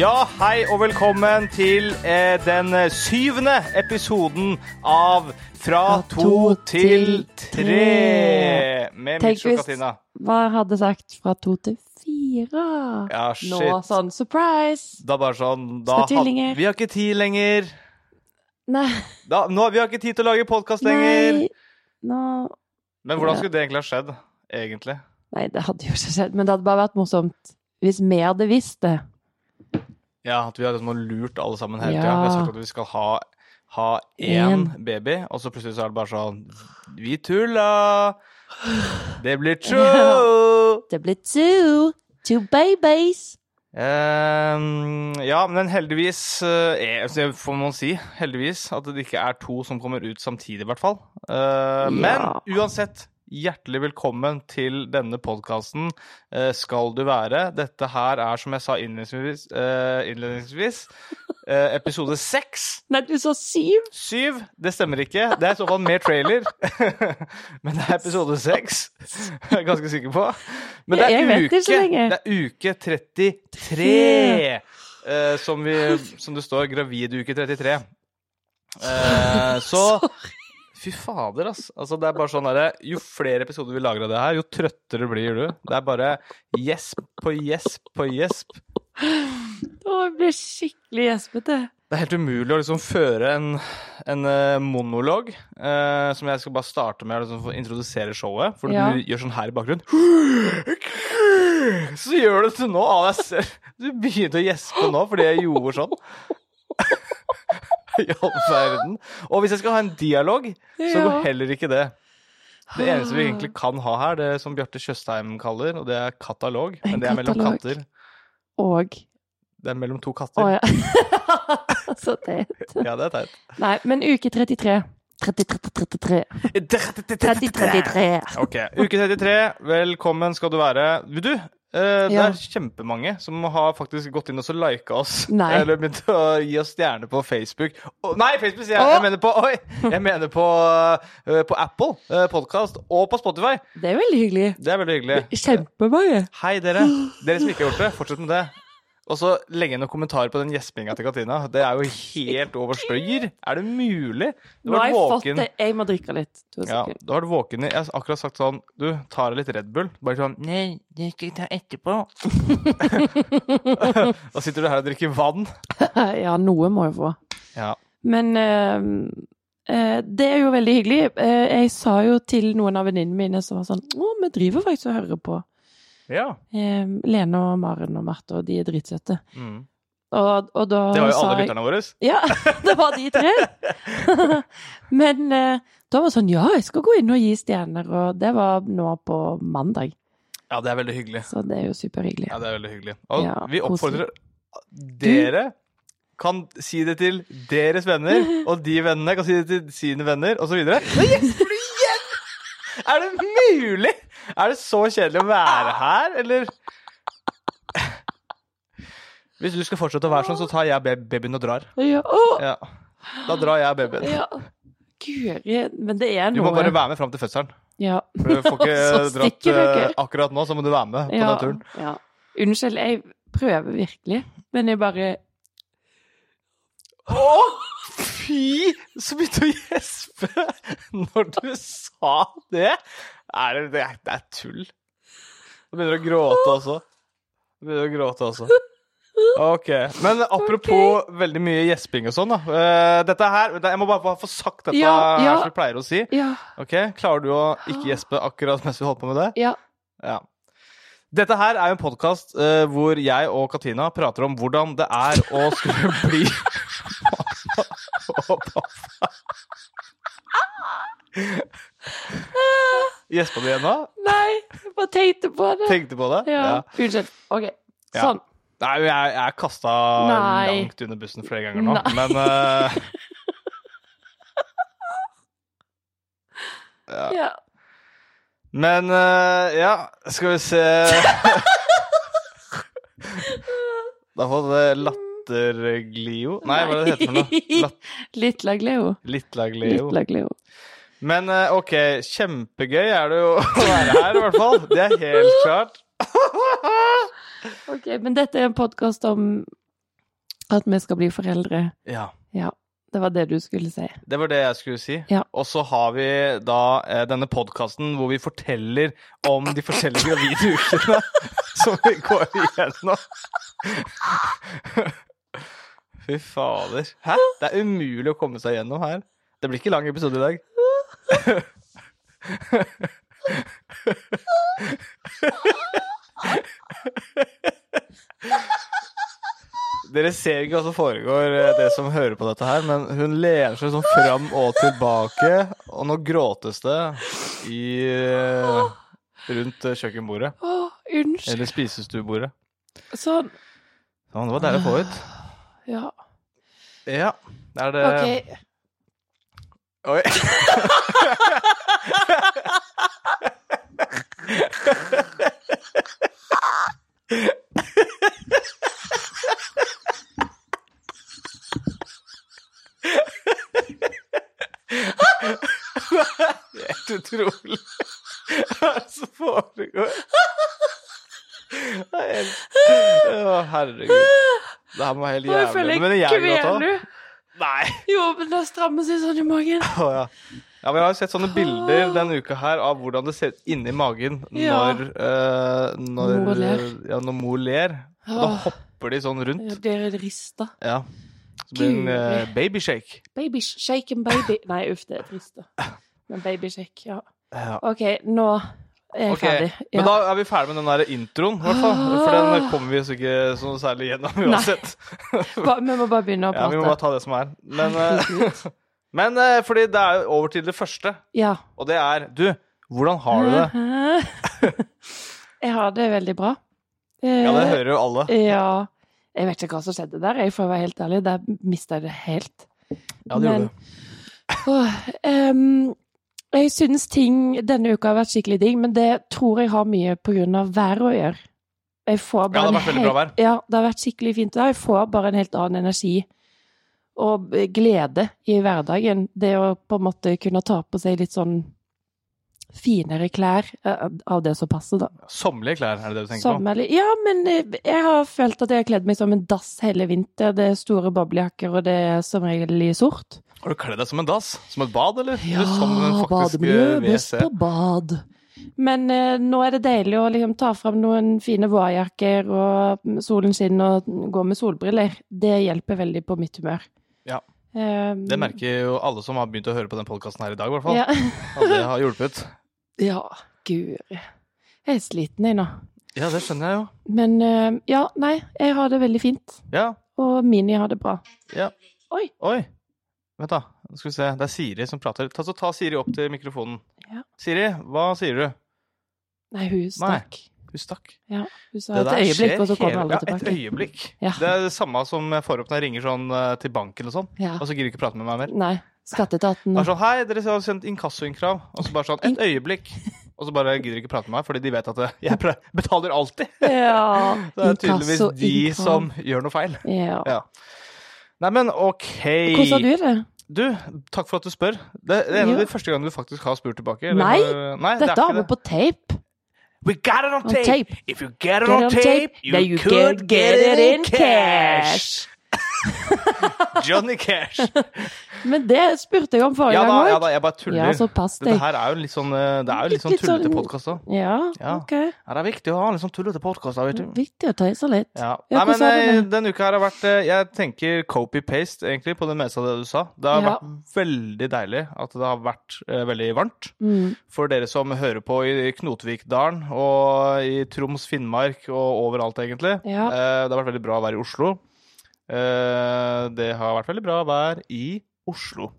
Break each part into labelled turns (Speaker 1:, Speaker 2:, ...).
Speaker 1: Ja, hei og velkommen til eh, den syvende episoden av Fra to til tre med
Speaker 2: Tenk
Speaker 1: Mitch og
Speaker 2: hvis-
Speaker 1: Katina.
Speaker 2: Hva jeg hadde sagt fra to til fire?
Speaker 1: Ja,
Speaker 2: Nå
Speaker 1: shit.
Speaker 2: sånn surprise!
Speaker 1: Da bare sånn da
Speaker 2: Skal tvillinger.
Speaker 1: Vi har ikke tid lenger.
Speaker 2: Nei,
Speaker 1: Da, nå, vi har ikke tid til å lage podkast lenger.
Speaker 2: nei, nå
Speaker 1: Men hvordan skulle det egentlig ha skjedd? Egentlig.
Speaker 2: Nei, det hadde jo ikke skjedd, men det hadde bare vært morsomt hvis vi hadde visst det.
Speaker 1: Ja, at vi har liksom lurt alle sammen hele
Speaker 2: Ja.
Speaker 1: tida. Vi har sagt at vi skal ha ha én baby, og så plutselig så er det bare sånn Vi tulla! Det blir true!
Speaker 2: Det ble two! Two babies!
Speaker 1: Ehm, ja, men heldigvis eh, er- Det får man si. Heldigvis at det ikke er to som kommer ut samtidig, i hvert fall. Eh,
Speaker 2: Ja.
Speaker 1: Men uansett, hjertelig velkommen til denne podkasten eh, skal du være. Dette her er, som jeg sa innledningsvis, eh, innledningsvis eh, episode seks.
Speaker 2: Nei, du sa syv!
Speaker 1: Syv, det stemmer ikke. Det er i så fall mer trailer. Men det er episode seks. Jeg er ganske sikker på. Men det
Speaker 2: Jeg
Speaker 1: er
Speaker 2: vet
Speaker 1: uke,
Speaker 2: ikke så lenge.
Speaker 1: det er uke 33 eh, som, vi, som det står. Gravid uke 33. Eh, så Fy fader, ass. Altså, det er bare sånn derre Jo flere episoder vi lager av det her, jo trøttere blir du. Det er bare gjesp på gjesp på gjesp.
Speaker 2: Å, jeg ble skikkelig gjespete.
Speaker 1: Det er helt umulig å liksom føre en, en eh, monolog, eh, som jeg skal bare starte med å liksom, få introdusere showet. For
Speaker 2: Ja.
Speaker 1: du gjør sånn her i bakgrunnen. Så gjør du det til nå av deg selv. Du begynte å gjespe nå fordi jeg gjorde sånn. I all verden. Og hvis jeg skal ha en dialog, så går
Speaker 2: Ja. Ah.
Speaker 1: heller ikke det. Det eneste vi egentlig kan ha her, det er som Bjarte Tjøstheim kaller, og det er katalog. Men det er mellom
Speaker 2: Katalog.
Speaker 1: katter.
Speaker 2: Og
Speaker 1: Det er mellom to
Speaker 2: Å
Speaker 1: katter.
Speaker 2: ja. Så teit.
Speaker 1: Ja, det er teit.
Speaker 2: Nei, men uke 33. 33. 33.
Speaker 1: Ok, uke 33, velkommen skal du være. Vil du? eh, Det
Speaker 2: Ja.
Speaker 1: er kjempemange som har faktisk gått inn og så lika oss.
Speaker 2: Nei.
Speaker 1: Eller begynt å gi oss stjerner på Facebook. Å, nei, Facebook sier jeg! Jeg
Speaker 2: Å.
Speaker 1: mener på, oi, jeg mener på, eh, på Apple uh, Podkast og på Spotify.
Speaker 2: Det er veldig hyggelig.
Speaker 1: Det er veldig hyggelig.
Speaker 2: Kjempemange.
Speaker 1: Hei, dere. Dere som ikke har gjort det, fortsett med det. Og så legge igjen noen kommentarer på den gjespinga til Katina. Det er jo helt over støyer. Er det mulig? Du
Speaker 2: Nå
Speaker 1: har vært
Speaker 2: har jeg fått
Speaker 1: våken.
Speaker 2: det. Jeg må drikke litt. To
Speaker 1: Ja,
Speaker 2: sekunder.
Speaker 1: da har du våken i Jeg har akkurat sagt sånn Du, tar deg litt Red Bull. Bare sånn Nei, det skal jeg ta etterpå. da sitter du her og drikker vann.
Speaker 2: Ja, noe må jeg få.
Speaker 1: Ja.
Speaker 2: Men eh, eh, det er jo veldig hyggelig. Eh, jeg sa jo til noen av venninnene mine som var sånn Å, vi driver faktisk og hører på.
Speaker 1: ja.
Speaker 2: Eh, Lene og Maren og Marte, og de er dritsøte.
Speaker 1: Mm.
Speaker 2: Og, og da
Speaker 1: Det var jo
Speaker 2: sa
Speaker 1: alle
Speaker 2: jeg-
Speaker 1: lytterne våre.
Speaker 2: Ja, det var de tre. Men eh, da var det sånn Ja, jeg skal gå inn og gi stjerner, og det var nå på mandag.
Speaker 1: Ja, det er veldig hyggelig.
Speaker 2: Så det er jo superhyggelig.
Speaker 1: Ja, det er veldig hyggelig. Og
Speaker 2: Ja,
Speaker 1: vi oppfordrer dere kan si det til deres venner, og de vennene kan si det til sine venner, osv. Er det mulig?! Er det så kjedelig å være her, eller? Hvis du skal fortsette å være sånn, så tar jeg bab- babyen og drar.
Speaker 2: Ja, å,
Speaker 1: Ja. Da drar jeg babyen.
Speaker 2: ja. Guri, men det er
Speaker 1: Du
Speaker 2: noe
Speaker 1: må bare være med fram til fødselen.
Speaker 2: Ja.
Speaker 1: For du får ikke
Speaker 2: Så
Speaker 1: dratt
Speaker 2: stikker dere.
Speaker 1: eh, akkurat nå, så må du være med på
Speaker 2: ja,
Speaker 1: den turen.
Speaker 2: Ja. Unnskyld, jeg prøver virkelig, men jeg bare
Speaker 1: Å, fy! Så begynte å gjespe når du sa det. Er det, det, er, det er tull. Du begynner å gråte også. Du begynner å gråte også. Ok. Men apropos veldig mye gjesping og sånn, da. Eh, Dette her Jeg må bare, bare få sagt dette
Speaker 2: Ja,
Speaker 1: her
Speaker 2: ja.
Speaker 1: som vi pleier å si.
Speaker 2: Ja.
Speaker 1: Ok, Klarer du å ikke gjespe akkurat mens vi holder på med det?
Speaker 2: ja.
Speaker 1: Ja. Dette her er jo en podkast hvor jeg og Katina prater om hvordan det er å skulle bli mamma og pappa. Gjespa du igjen nå?
Speaker 2: Nei, jeg bare tenkte på det.
Speaker 1: Tenkte på det?
Speaker 2: ja. Unnskyld. OK.
Speaker 1: Ja.
Speaker 2: Sånn.
Speaker 1: Nei, men jeg, jeg er kasta
Speaker 2: Nei.
Speaker 1: langt under bussen flere ganger nå,
Speaker 2: Nei.
Speaker 1: men eh,
Speaker 2: Ja.
Speaker 1: Men eh, ja, skal vi se Da får det latterglio Nei, hva er det det heter for noe? Lat-
Speaker 2: Litla Gleo.
Speaker 1: Littlaglio.
Speaker 2: Litla Gleo.
Speaker 1: Men eh, ok, kjempegøy er det jo å være her, i hvert fall. Det er helt klart.
Speaker 2: Ok, men dette er en podkast om at vi skal bli foreldre.
Speaker 1: Ja.
Speaker 2: Ja, det var det du skulle si.
Speaker 1: Det var det jeg skulle si.
Speaker 2: Ja.
Speaker 1: Og så har vi da eh, denne podkasten hvor vi forteller om de forskjellige gravide ukene som vi går igjennom. Fy fader. Hæ? Det er umulig å komme seg gjennom her. Det blir ikke lang episode i dag. Dere ser ikke hva som foregår, eh, dere som hører på dette her, men hun lener seg sånn fram og tilbake, og nå gråtes det i eh, rundt eh, kjøkkenbordet.
Speaker 2: Å, unnskyld.
Speaker 1: Eller spisestuebordet.
Speaker 2: Sånn.
Speaker 1: Sånn, det var deilig å få ut.
Speaker 2: Ja.
Speaker 1: Ja, det er det
Speaker 2: Ok.
Speaker 1: Oi. Det er helt utrolig. Hva er det som foregår? Det er helt... Å, herregud. Det her må være helt
Speaker 2: Nå føler
Speaker 1: jævlig.
Speaker 2: jeg
Speaker 1: Men jeg gråter.
Speaker 2: kveler.
Speaker 1: Nei.
Speaker 2: Jo, men det strammer seg sånn i magen.
Speaker 1: Å, ja. ja, men jeg har jo sett sånne bilder denne uka her av hvordan det ser ut inni magen
Speaker 2: Ah. Ja.
Speaker 1: når, eh, når eh,
Speaker 2: Mor ler.
Speaker 1: Ja, når mor ler. Og da
Speaker 2: Åh.
Speaker 1: hopper de sånn rundt.
Speaker 2: Jeg blir rista.
Speaker 1: Ja. Så blir det en eh, babyshake.
Speaker 2: Baby, shake and baby. Nei, uff, det er trist. da. Men baby shake, ja.
Speaker 1: Ja.
Speaker 2: OK, nå er jeg
Speaker 1: Ok,
Speaker 2: ferdig. Ja. Ah.
Speaker 1: Men da er vi ferdig med den der introen, i hvert fall. For den kommer vi oss ikke så særlig gjennom uansett.
Speaker 2: Ba, vi må bare begynne å
Speaker 1: Ja, vi
Speaker 2: prate.
Speaker 1: må bare ta det som er. Men, eh, men eh, fordi det er jo over til det første,
Speaker 2: Ja.
Speaker 1: og det er Du, hvordan har du
Speaker 2: Mm.
Speaker 1: det?
Speaker 2: jeg har det veldig bra. Eh,
Speaker 1: Ja, det hører jo alle.
Speaker 2: Ja. Jeg vet ikke hva som skjedde der, jeg for å være helt ærlig. Der mista jeg det helt.
Speaker 1: Ja, det gjorde
Speaker 2: men-
Speaker 1: du.
Speaker 2: Åh, ehm, jeg syns ting denne uka har vært skikkelig digg, men det tror jeg har mye på grunn av været å gjøre. Jeg får
Speaker 1: Ja,
Speaker 2: bare
Speaker 1: det har
Speaker 2: en
Speaker 1: vært veldig bra
Speaker 2: helt- Ja, det har vært skikkelig fint vær. Jeg får bare en helt annen energi og glede i hverdagen. Det å på en måte kunne ta på seg litt sånn finere klær eh, av det som passer, da.
Speaker 1: Sommerlige klær, er det det du tenker på?
Speaker 2: Sommerlig. Ja, men eh, jeg har følt at jeg har kledd meg som en dass hele vinter. Det er store boblejakker, og det er som regel i sort.
Speaker 1: Har du kledd deg som en dass? Som et bad, eller?
Speaker 2: Ja,
Speaker 1: eller som en faktisk,
Speaker 2: bademiljø,
Speaker 1: eh,
Speaker 2: best
Speaker 1: WC?
Speaker 2: på bad. Men eh, nå er det deilig å liksom ta fram noen fine vårjakker, og mm, solen skinner, og gå med solbriller. Det hjelper veldig på mitt humør.
Speaker 1: Ja.
Speaker 2: Eh,
Speaker 1: Det merker jo alle som har begynt å høre på den podkasten her i dag, i hvert fall.
Speaker 2: Ja.
Speaker 1: At det har hjulpet.
Speaker 2: ja, guri. Jeg er sliten, jeg nå.
Speaker 1: Ja, det skjønner jeg jo.
Speaker 2: Men eh, ja, nei, jeg har det veldig fint.
Speaker 1: Ja.
Speaker 2: Og Mini har det bra.
Speaker 1: Oi. Vent, da. Nå Skal vi se. Det er Siri som prater. Ta, så ta Siri opp til mikrofonen.
Speaker 2: Ja.
Speaker 1: Siri, hva sier du?
Speaker 2: Nei, hun stakk.
Speaker 1: Hun stakk.
Speaker 2: Hun sa et øyeblikk, og så kom hun aldri
Speaker 1: Ja, et
Speaker 2: tilbake.
Speaker 1: øyeblikk.
Speaker 2: Ja.
Speaker 1: Det er det samme som jeg får opp når jeg ringer sånn eh, til banken og sånn.
Speaker 2: Ja.
Speaker 1: Og så gidder du ikke prate med meg mer.
Speaker 2: Nei. Skatteetaten
Speaker 1: Det er sånn, Hei, dere har sendt inkassoinnkrav. Og så bare sånn, et øyeblikk. Og så bare gidder de ikke prate med meg, fordi de vet at eh, jeg pre- betaler alltid.
Speaker 2: Ja.
Speaker 1: Det er tydeligvis
Speaker 2: Inkasso,
Speaker 1: de
Speaker 2: inkasso.
Speaker 1: som gjør noe feil.
Speaker 2: Ja.
Speaker 1: Ja. Nei, men OK.
Speaker 2: Hvordan har du det?
Speaker 1: Du, takk for at du spør. Det, det er en av
Speaker 2: Ja.
Speaker 1: de første gangene du faktisk har spurt tilbake.
Speaker 2: Nei,
Speaker 1: når- nei det
Speaker 2: Dette
Speaker 1: er
Speaker 2: har
Speaker 1: ikke
Speaker 2: vi
Speaker 1: det.
Speaker 2: på tape.
Speaker 1: We got it on
Speaker 2: On
Speaker 1: tape.
Speaker 2: tape.
Speaker 1: If you get it
Speaker 2: Get
Speaker 1: on, tape,
Speaker 2: then you could get it in cash.
Speaker 1: Johnny Cash.
Speaker 2: Men det spurte jeg om forrige
Speaker 1: Ja da,
Speaker 2: gang
Speaker 1: ja
Speaker 2: òg.
Speaker 1: da, jeg bare tuller.
Speaker 2: Ja, så pass
Speaker 1: Dette
Speaker 2: deg.
Speaker 1: her er jo en litt sånn, eh, det er jo litt
Speaker 2: Litt-
Speaker 1: sånn
Speaker 2: litt
Speaker 1: tullete
Speaker 2: sånn-
Speaker 1: podkast òg.
Speaker 2: Ja,
Speaker 1: Ja.
Speaker 2: ok.
Speaker 1: Ja, det er viktig å ha litt sånn tullete podkast, vet du.
Speaker 2: Viktig å tøyse litt.
Speaker 1: Ja.
Speaker 2: Mm.
Speaker 1: Nei,
Speaker 2: Ja,
Speaker 1: men
Speaker 2: hvordan er det
Speaker 1: eh, denne uka her har vært eh, Jeg tenker copy-paste, egentlig, på det meste av det du sa. Det har
Speaker 2: Ja.
Speaker 1: vært veldig deilig at det har vært eh, veldig varmt.
Speaker 2: Mm.
Speaker 1: For dere som hører på i Knotevikdalen og i Troms, Finnmark og overalt, egentlig.
Speaker 2: Ja.
Speaker 1: Eh, Det har vært veldig bra vær i Oslo. Eh, Det har vært veldig bra vær i Oslo.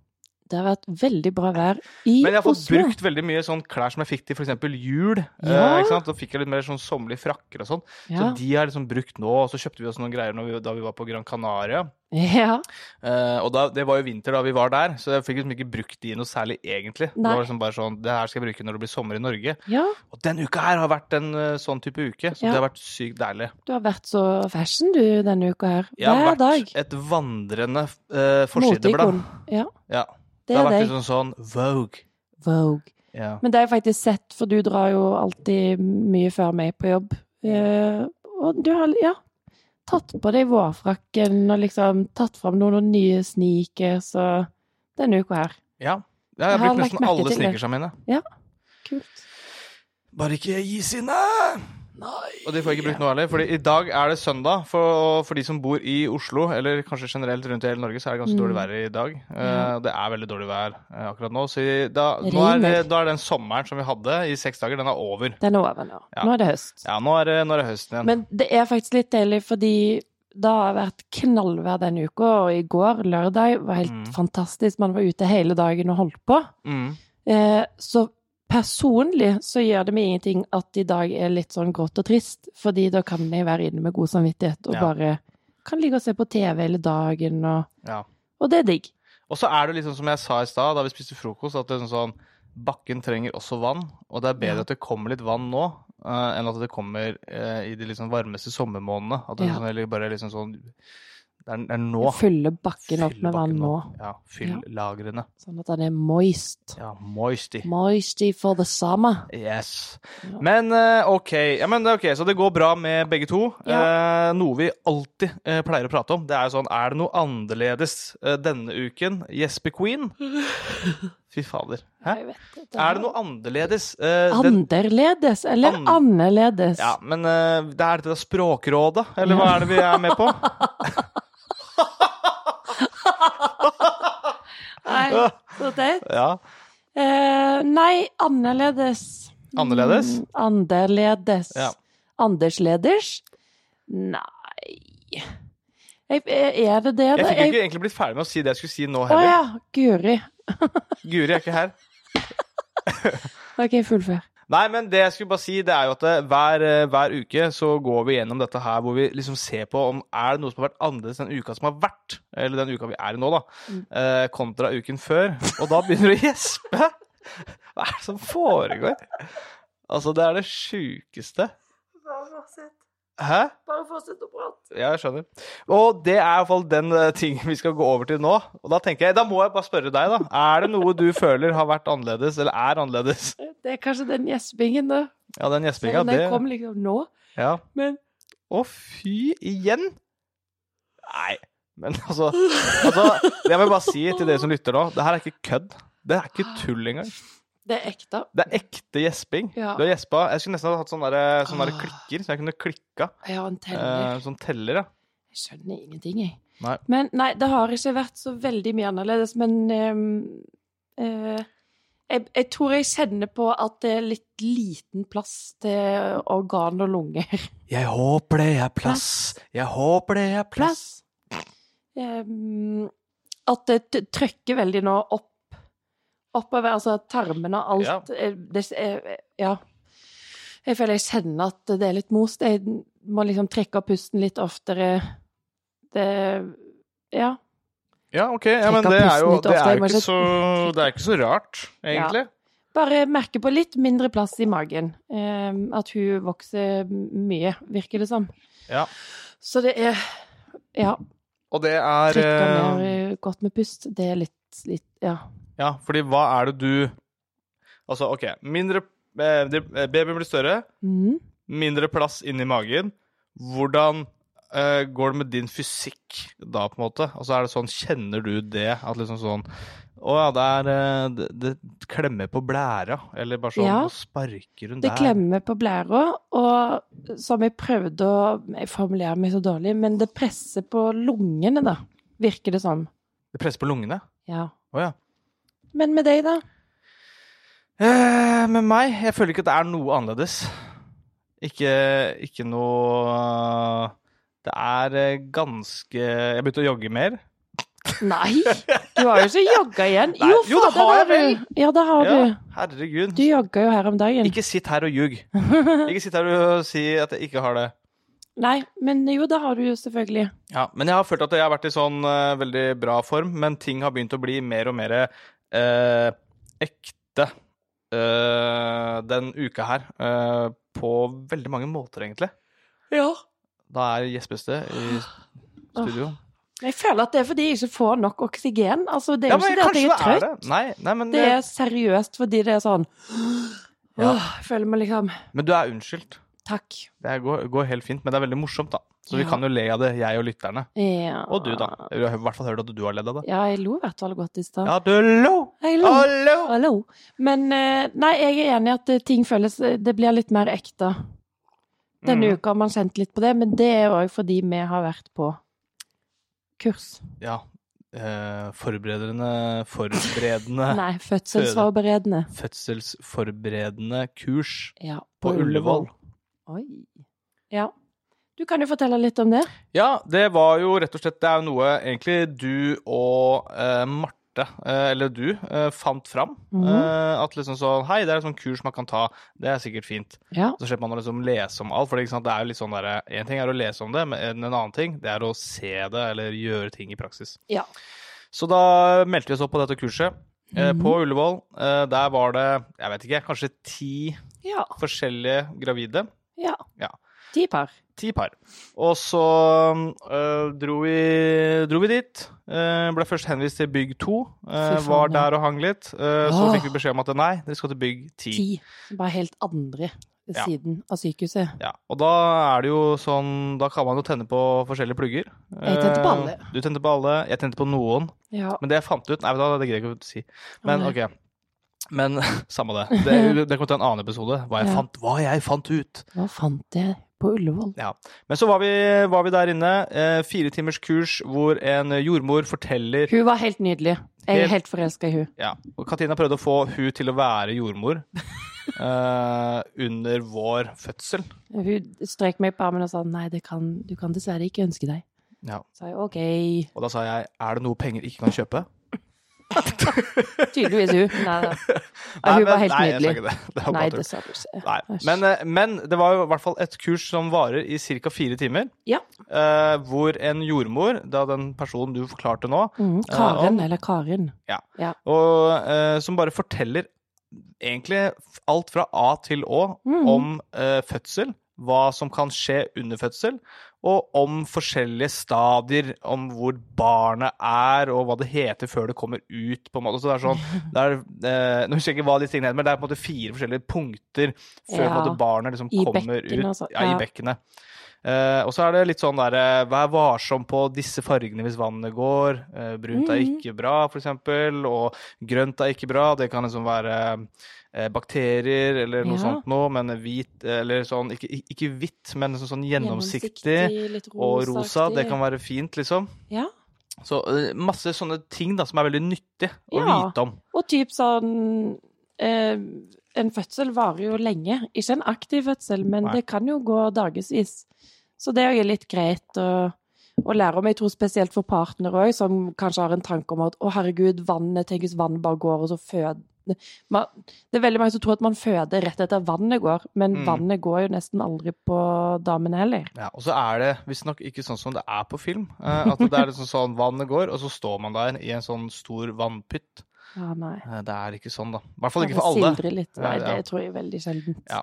Speaker 2: Det har vært veldig bra vær i
Speaker 1: Men jeg har fått
Speaker 2: Oslo.
Speaker 1: brukt veldig mye sånn klær som jeg fikk til f.eks. jul.
Speaker 2: Ja.
Speaker 1: Eh, ikke sant? Da fikk jeg litt mer sånn sommerlige frakker og sånn.
Speaker 2: Ja.
Speaker 1: Så de har jeg liksom brukt nå. Og så kjøpte vi oss noen greier når vi, da vi var på Gran Canaria.
Speaker 2: ja.
Speaker 1: Eh, og da, det var jo vinter da vi var der, så jeg fikk liksom ikke brukt de noe særlig egentlig. Det
Speaker 2: Nei.
Speaker 1: var liksom bare sånn, det her skal jeg bruke når det blir sommer i Norge.
Speaker 2: ja,
Speaker 1: Og den uka her har vært en eh, sånn type uke, så
Speaker 2: Ja.
Speaker 1: det har vært sykt deilig.
Speaker 2: du har vært så fashion du denne uka her.
Speaker 1: Jeg har
Speaker 2: Hver
Speaker 1: vært
Speaker 2: dag.
Speaker 1: et vandrende eh, forsideblad.
Speaker 2: Ja,
Speaker 1: Ja, det,
Speaker 2: det
Speaker 1: har
Speaker 2: er
Speaker 1: vært
Speaker 2: deg.
Speaker 1: litt sånn sånn Vogue.
Speaker 2: Vogue.
Speaker 1: Ja.
Speaker 2: Men det har jeg faktisk sett, for du drar jo alltid mye før meg på jobb. Eh, og Og du har ja, tatt på deg vårfrakken og liksom tatt fram noen, noen nye sneakers og denne uka her.
Speaker 1: Ja.
Speaker 2: Jeg
Speaker 1: Jeg har
Speaker 2: har
Speaker 1: brukt
Speaker 2: lagt
Speaker 1: nesten
Speaker 2: merke
Speaker 1: alle
Speaker 2: til det.
Speaker 1: sneakersene mine.
Speaker 2: Kult.
Speaker 1: Bare ikke gi sine!
Speaker 2: Nei.
Speaker 1: Og de får ikke brukt noe heller. Fordi i dag er det søndag. For, for de som bor i Oslo, eller kanskje generelt rundt i hele Norge, så er det ganske
Speaker 2: Mm.
Speaker 1: dårlig vær i dag. Eh,
Speaker 2: Ja.
Speaker 1: og det er veldig dårlig vær eh, akkurat nå. Så i- da, nå er, det,
Speaker 2: Regner.
Speaker 1: da er den sommeren som vi hadde i seks dager, den er over.
Speaker 2: Den er over nå.
Speaker 1: Ja.
Speaker 2: Nå er det høst.
Speaker 1: Ja, nå er det, nå er det høsten igjen.
Speaker 2: Men det er faktisk litt deilig, fordi det har vært knallvær denne uka, og i går, lørdag, var helt
Speaker 1: Mm.
Speaker 2: fantastisk. Man var ute hele dagen og holdt på.
Speaker 1: Mm.
Speaker 2: Eh, så personlig så gjør det meg ingenting at i dag er litt sånn grått og trist, fordi da kan jeg være inne med god samvittighet og
Speaker 1: Ja.
Speaker 2: bare kan ligge og se på TV hele dagen, og,
Speaker 1: Ja.
Speaker 2: og det er digg.
Speaker 1: Og så er det litt sånn som jeg sa i stad, da vi spiste frokost, at det er sånn sånn Bakken trenger også vann, og det er bedre
Speaker 2: Ja.
Speaker 1: at det kommer litt vann nå eh, enn at det kommer eh, i de liksom varmeste sommermånedene. At det er
Speaker 2: Ja.
Speaker 1: sånn, eller bare liksom sånn Det er, det er nå.
Speaker 2: Jeg fyller bakken opp
Speaker 1: Fyll
Speaker 2: med vann
Speaker 1: bakken
Speaker 2: nå,
Speaker 1: Ja, fyll
Speaker 2: Ja.
Speaker 1: lagrene.
Speaker 2: sånn at den er moist.
Speaker 1: Ja, moisty.
Speaker 2: Moisty for the summer.
Speaker 1: Yes.
Speaker 2: Ja.
Speaker 1: Men eh, OK, ja, men, det er ok, så det går bra med begge to. Eh, noe vi alltid eh, pleier å prate om, det er jo sånn Er det noe annerledes eh, denne uken? Jesper Queen? Fy fader. Hæ?
Speaker 2: Jeg vet at
Speaker 1: Er det noe annerledes? Eh, den,
Speaker 2: Anderledes, eller
Speaker 1: An-
Speaker 2: annerledes.
Speaker 1: ja, men eh, det er dette Språkrådet, eller hva er det vi er med på?
Speaker 2: Nei, så teit.
Speaker 1: Ja.
Speaker 2: Eh, nei, annerledes.
Speaker 1: Annerledes?
Speaker 2: Mm, Anderledes.
Speaker 1: Ja.
Speaker 2: Andersleders? Nei jeg, eh, Er det det,
Speaker 1: Jeg
Speaker 2: da?
Speaker 1: fikk jo ikke egentlig blitt ferdig med å si det jeg skulle si nå
Speaker 2: Altså, Å
Speaker 1: heller.
Speaker 2: ja, guri.
Speaker 1: Guri er ikke her.
Speaker 2: OK, fullfør.
Speaker 1: Nei, men det jeg skulle bare si, det er jo at eh, hver, eh, hver uke så går vi gjennom dette her hvor vi liksom ser på om er det noe som har vært annerledes den uka som har vært, eller den uka vi er i nå, da,
Speaker 2: Mm.
Speaker 1: eh, kontra uken før. Og da begynner du å gjespe! Hva er det som foregår? Altså, det er det sjukeste. Hæ?
Speaker 2: Bare fortsett å prate.
Speaker 1: Ja, jeg skjønner. Og det er i hvert fall den eh, tingen vi skal gå over til nå. Og da tenker jeg, da må jeg bare spørre deg, da. Er det noe du føler har vært annerledes, eller er annerledes?
Speaker 2: Det er kanskje den gjespingen, da.
Speaker 1: Ja, den gjespinga,
Speaker 2: Selv om
Speaker 1: det
Speaker 2: den kom liksom nå.
Speaker 1: Ja.
Speaker 2: Men
Speaker 1: Å, fy igjen! Nei, men altså, altså Jeg vil bare si til dere som lytter nå, det her er ikke kødd. Det er ikke tull engang.
Speaker 2: det er ekte.
Speaker 1: Det er ekte gjesping.
Speaker 2: Ja.
Speaker 1: Du har gjespa. Jeg skulle nesten ha hatt sånne, der, sånne der
Speaker 2: Ah.
Speaker 1: klikker, så jeg kunne klikka.
Speaker 2: Jeg har en teller.
Speaker 1: Eh, sånn teller, ja.
Speaker 2: Jeg skjønner ingenting, jeg.
Speaker 1: Nei.
Speaker 2: Men nei, det har ikke vært så veldig mye annerledes, men ehm, eh, jeg, jeg tror jeg kjenner på at det er litt liten plass til organ og lunger.
Speaker 1: Jeg håper det er plass, jeg håper det er plass.
Speaker 2: Ehm, at det t- trykker veldig nå opp. Oppover, altså tarmene og alt. eh, Det, eh, ja. Jeg føler jeg kjenner at det er litt most. Jeg må liksom trekke opp pusten litt oftere. Det Ja.
Speaker 1: Ja, OK. Ja, men
Speaker 2: Trekk av
Speaker 1: det er jo,
Speaker 2: pusten litt
Speaker 1: det
Speaker 2: ofte,
Speaker 1: er
Speaker 2: jeg
Speaker 1: jo
Speaker 2: må
Speaker 1: ikke
Speaker 2: ikke-
Speaker 1: så Det er ikke så rart, egentlig.
Speaker 2: Bare merke på litt mindre plass i magen. Eh, at hun vokser mye, virker det som.
Speaker 1: Ja.
Speaker 2: Så det er Ja.
Speaker 1: Og det er
Speaker 2: Trykker
Speaker 1: eh,
Speaker 2: mer godt med pust. Det er litt, litt Ja.
Speaker 1: Ja, fordi hva er det du Altså, OK. Mindre eh, det- eh, Babyen blir større,
Speaker 2: Mm.
Speaker 1: mindre plass inni magen. Hvordan eh, går det med din fysikk da, på en måte? Altså, er det sånn, Kjenner du det? At liksom sånn Å ja, det er eh, det, det klemmer på blæra. Eller bare sånn
Speaker 2: Ja.
Speaker 1: Nå sparker hun
Speaker 2: Det
Speaker 1: der.
Speaker 2: klemmer på blæra, og som jeg prøvde å Jeg formulerer meg så dårlig, men det presser på lungene, da, virker det som.
Speaker 1: Det presser på lungene.
Speaker 2: Ja.
Speaker 1: Å ja.
Speaker 2: Men med deg, da?
Speaker 1: Eh, med meg Jeg føler ikke at det er noe annerledes. Ikke, ikke noe Det er eh, ganske Jeg begynte å jogge mer.
Speaker 2: Nei! Du har jo ikke jogga igjen.
Speaker 1: Nei, jo, det
Speaker 2: fader,
Speaker 1: har jeg
Speaker 2: du. Ja, det har
Speaker 1: Ja,
Speaker 2: du.
Speaker 1: herregud.
Speaker 2: Du jogga jo her om dagen.
Speaker 1: Ikke sitt her og ljug. Ikke sitt her og si at jeg ikke har det.
Speaker 2: Nei, men jo, det har du jo selvfølgelig.
Speaker 1: Ja, Men jeg har følt at jeg har vært i sånn eh, veldig bra form, men ting har begynt å bli mer og mer eh, ekte eh, den uka her. eh, på veldig mange måter, egentlig.
Speaker 2: Ja.
Speaker 1: Da er Jespes det i studio.
Speaker 2: Jeg føler at det er fordi jeg ikke får nok oksygen. Altså, det er
Speaker 1: Ja,
Speaker 2: jo
Speaker 1: men
Speaker 2: ikke det at jeg er
Speaker 1: kanskje
Speaker 2: trøtt.
Speaker 1: det det. Nei, nei, men,
Speaker 2: Det er seriøst fordi det er sånn
Speaker 1: Ja.
Speaker 2: Åh, jeg føler meg liksom
Speaker 1: men eh, du er unnskyldt.
Speaker 2: Takk.
Speaker 1: Det går, går helt fint, men det er veldig morsomt, da. Så vi
Speaker 2: Ja.
Speaker 1: kan jo le av det, jeg og lytterne.
Speaker 2: Ja.
Speaker 1: Og du, da. Jeg har i hvert fall hørt at du har ledd av det.
Speaker 2: Ja, jeg lo i hvert fall godt i stad.
Speaker 1: Ja, du lo!
Speaker 2: Jeg lo.
Speaker 1: Hallo!
Speaker 2: Hallo. Men eh, nei, jeg er enig i at eh, ting føles Det blir litt mer ekte.
Speaker 1: Mm.
Speaker 2: Denne uka har man kjent litt på det, men det er òg fordi vi har vært på kurs.
Speaker 1: Ja. Eh, forberedende Forberedende
Speaker 2: Nei, fødselsforberedende.
Speaker 1: Fødselsforberedende kurs
Speaker 2: Ja,
Speaker 1: på Ullevål.
Speaker 2: Oi. Ja. Du kan jo fortelle litt om det.
Speaker 1: Ja, det var jo rett og slett Det er jo noe egentlig du og eh, Marte, eh, eller du, eh, fant fram.
Speaker 2: Mhm.
Speaker 1: Eh, at liksom sånn Hei, det er et sånt kurs man kan ta. Det er sikkert fint.
Speaker 2: Ja.
Speaker 1: Så slipper man å liksom lese om alt. For ikke sant, det er jo litt sånn derre En ting er å lese om det, men en annen ting det er å se det eller gjøre ting i praksis.
Speaker 2: Ja.
Speaker 1: Så da meldte vi oss opp på dette kurset. eh,
Speaker 2: Mhm.
Speaker 1: På Ullevål. Eh, Der var det jeg vet ikke, kanskje ti
Speaker 2: Ja.
Speaker 1: forskjellige gravide.
Speaker 2: ja.
Speaker 1: Ja.
Speaker 2: Ti par.
Speaker 1: Ti par. Og så øh, dro, vi, dro vi dit. Øh, ble først henvist til bygg to. øh,
Speaker 2: Fy faen,
Speaker 1: var
Speaker 2: ja.
Speaker 1: der og hang litt. Øh, så
Speaker 2: Åh.
Speaker 1: fikk vi beskjed om at nei, dere skal til bygg ti.
Speaker 2: Ti. Bare helt andre
Speaker 1: Ja.
Speaker 2: siden av sykehuset.
Speaker 1: Ja, og da er det jo sånn Da kan man jo tenne på forskjellige plugger.
Speaker 2: Jeg tente på
Speaker 1: Eh,
Speaker 2: alle.
Speaker 1: Du tente på alle. Jeg tente på noen.
Speaker 2: Ja.
Speaker 1: Men det jeg fant ut Nei, vet du hva, det greier jeg ikke å si. Men
Speaker 2: Nei.
Speaker 1: OK. Men samme det. Det, det kommer til en annen episode. Hva jeg
Speaker 2: Ja.
Speaker 1: fant, hva jeg fant ut.
Speaker 2: Hva fant jeg på Ullevål?
Speaker 1: Men så var vi, var vi der inne. Eh, fire timers kurs hvor en jordmor forteller
Speaker 2: Hun var helt nydelig. Jeg
Speaker 1: Helt-
Speaker 2: er helt forelska i hun.
Speaker 1: Ja, og Katina prøvde å få hun til å være jordmor eh, under vår fødsel.
Speaker 2: Hun strøk meg på armen og sa nei, det kan, du kan dessverre ikke ønske deg.
Speaker 1: Ja.
Speaker 2: Sa jeg OK.
Speaker 1: Og da sa jeg er det noe penger ikke kan kjøpe?
Speaker 2: Tydeligvis hun. Nei, da. Ja, hun var helt
Speaker 1: nei, jeg sa
Speaker 2: nydelig.
Speaker 1: ikke det. det var
Speaker 2: Nei,
Speaker 1: bare tull.
Speaker 2: det sa du ikke.
Speaker 1: Nei.
Speaker 2: Æsj.
Speaker 1: Men, eh, men det var jo i hvert fall et kurs som varer i ca. fire timer.
Speaker 2: Ja.
Speaker 1: Eh, hvor en jordmor, da den personen du forklarte nå,
Speaker 2: Mm, Karen,
Speaker 1: Eh,
Speaker 2: eller Karin.
Speaker 1: og, eh, som bare forteller egentlig alt fra A til Å
Speaker 2: Mm.
Speaker 1: om eh, fødsel, hva som kan skje under fødsel, og om forskjellige stadier, om hvor barnet er, og hva det heter før det kommer ut, på en måte. Så det er sånn, det er, eh, nå husker jeg ikke hva de tingene heter, men det er på en måte fire forskjellige punkter før på en
Speaker 2: Ja.
Speaker 1: måte barnet liksom
Speaker 2: I
Speaker 1: kommer
Speaker 2: bekkenet og
Speaker 1: ut.
Speaker 2: sånn,
Speaker 1: Ja, i
Speaker 2: ja.
Speaker 1: bekkenet. Eh, og så er det litt sånn der, eh, vær varsom på disse fargene hvis vannet går, eh, brunt er
Speaker 2: Mhm.
Speaker 1: ikke bra, for eksempel, og grønt er ikke bra, det kan liksom være eh, bakterier eller noe
Speaker 2: Ja.
Speaker 1: sånt noe, men hvit eller sånn Ikke, ikke hvitt, men sånn, sånn gjennomsiktig,
Speaker 2: litt
Speaker 1: og rosa. Det
Speaker 2: rosaaktig.
Speaker 1: kan være fint, liksom.
Speaker 2: Ja.
Speaker 1: Så eh, masse sånne ting da, som er veldig nyttig å
Speaker 2: Ja.
Speaker 1: vite om.
Speaker 2: Og typ sånn eh, En fødsel varer jo lenge. Ikke en aktiv fødsel, men
Speaker 1: Nei.
Speaker 2: det kan jo gå dagevis. Så det er jo litt greit å, å lære om. Jeg tror spesielt for partnere òg, som kanskje har en tanke om at å, herregud, vannet Tenk hvis vannet bare går, og så føder man, Det er veldig mange som tror at man føder rett etter vannet går, men
Speaker 1: Mm.
Speaker 2: vannet går jo nesten aldri på damene heller.
Speaker 1: Ja, og så er det visstnok ikke sånn som det er på film. eh, At det er liksom sånn vannet går, og så står man der i en sånn stor vannpytt.
Speaker 2: Ja, nei.
Speaker 1: Eh, Det er ikke sånn, da. I hvert fall ikke
Speaker 2: Det
Speaker 1: for alle.
Speaker 2: sildrer Litt. Nei,
Speaker 1: Ja, ja.
Speaker 2: det tror jeg er veldig sjeldent.
Speaker 1: Ja.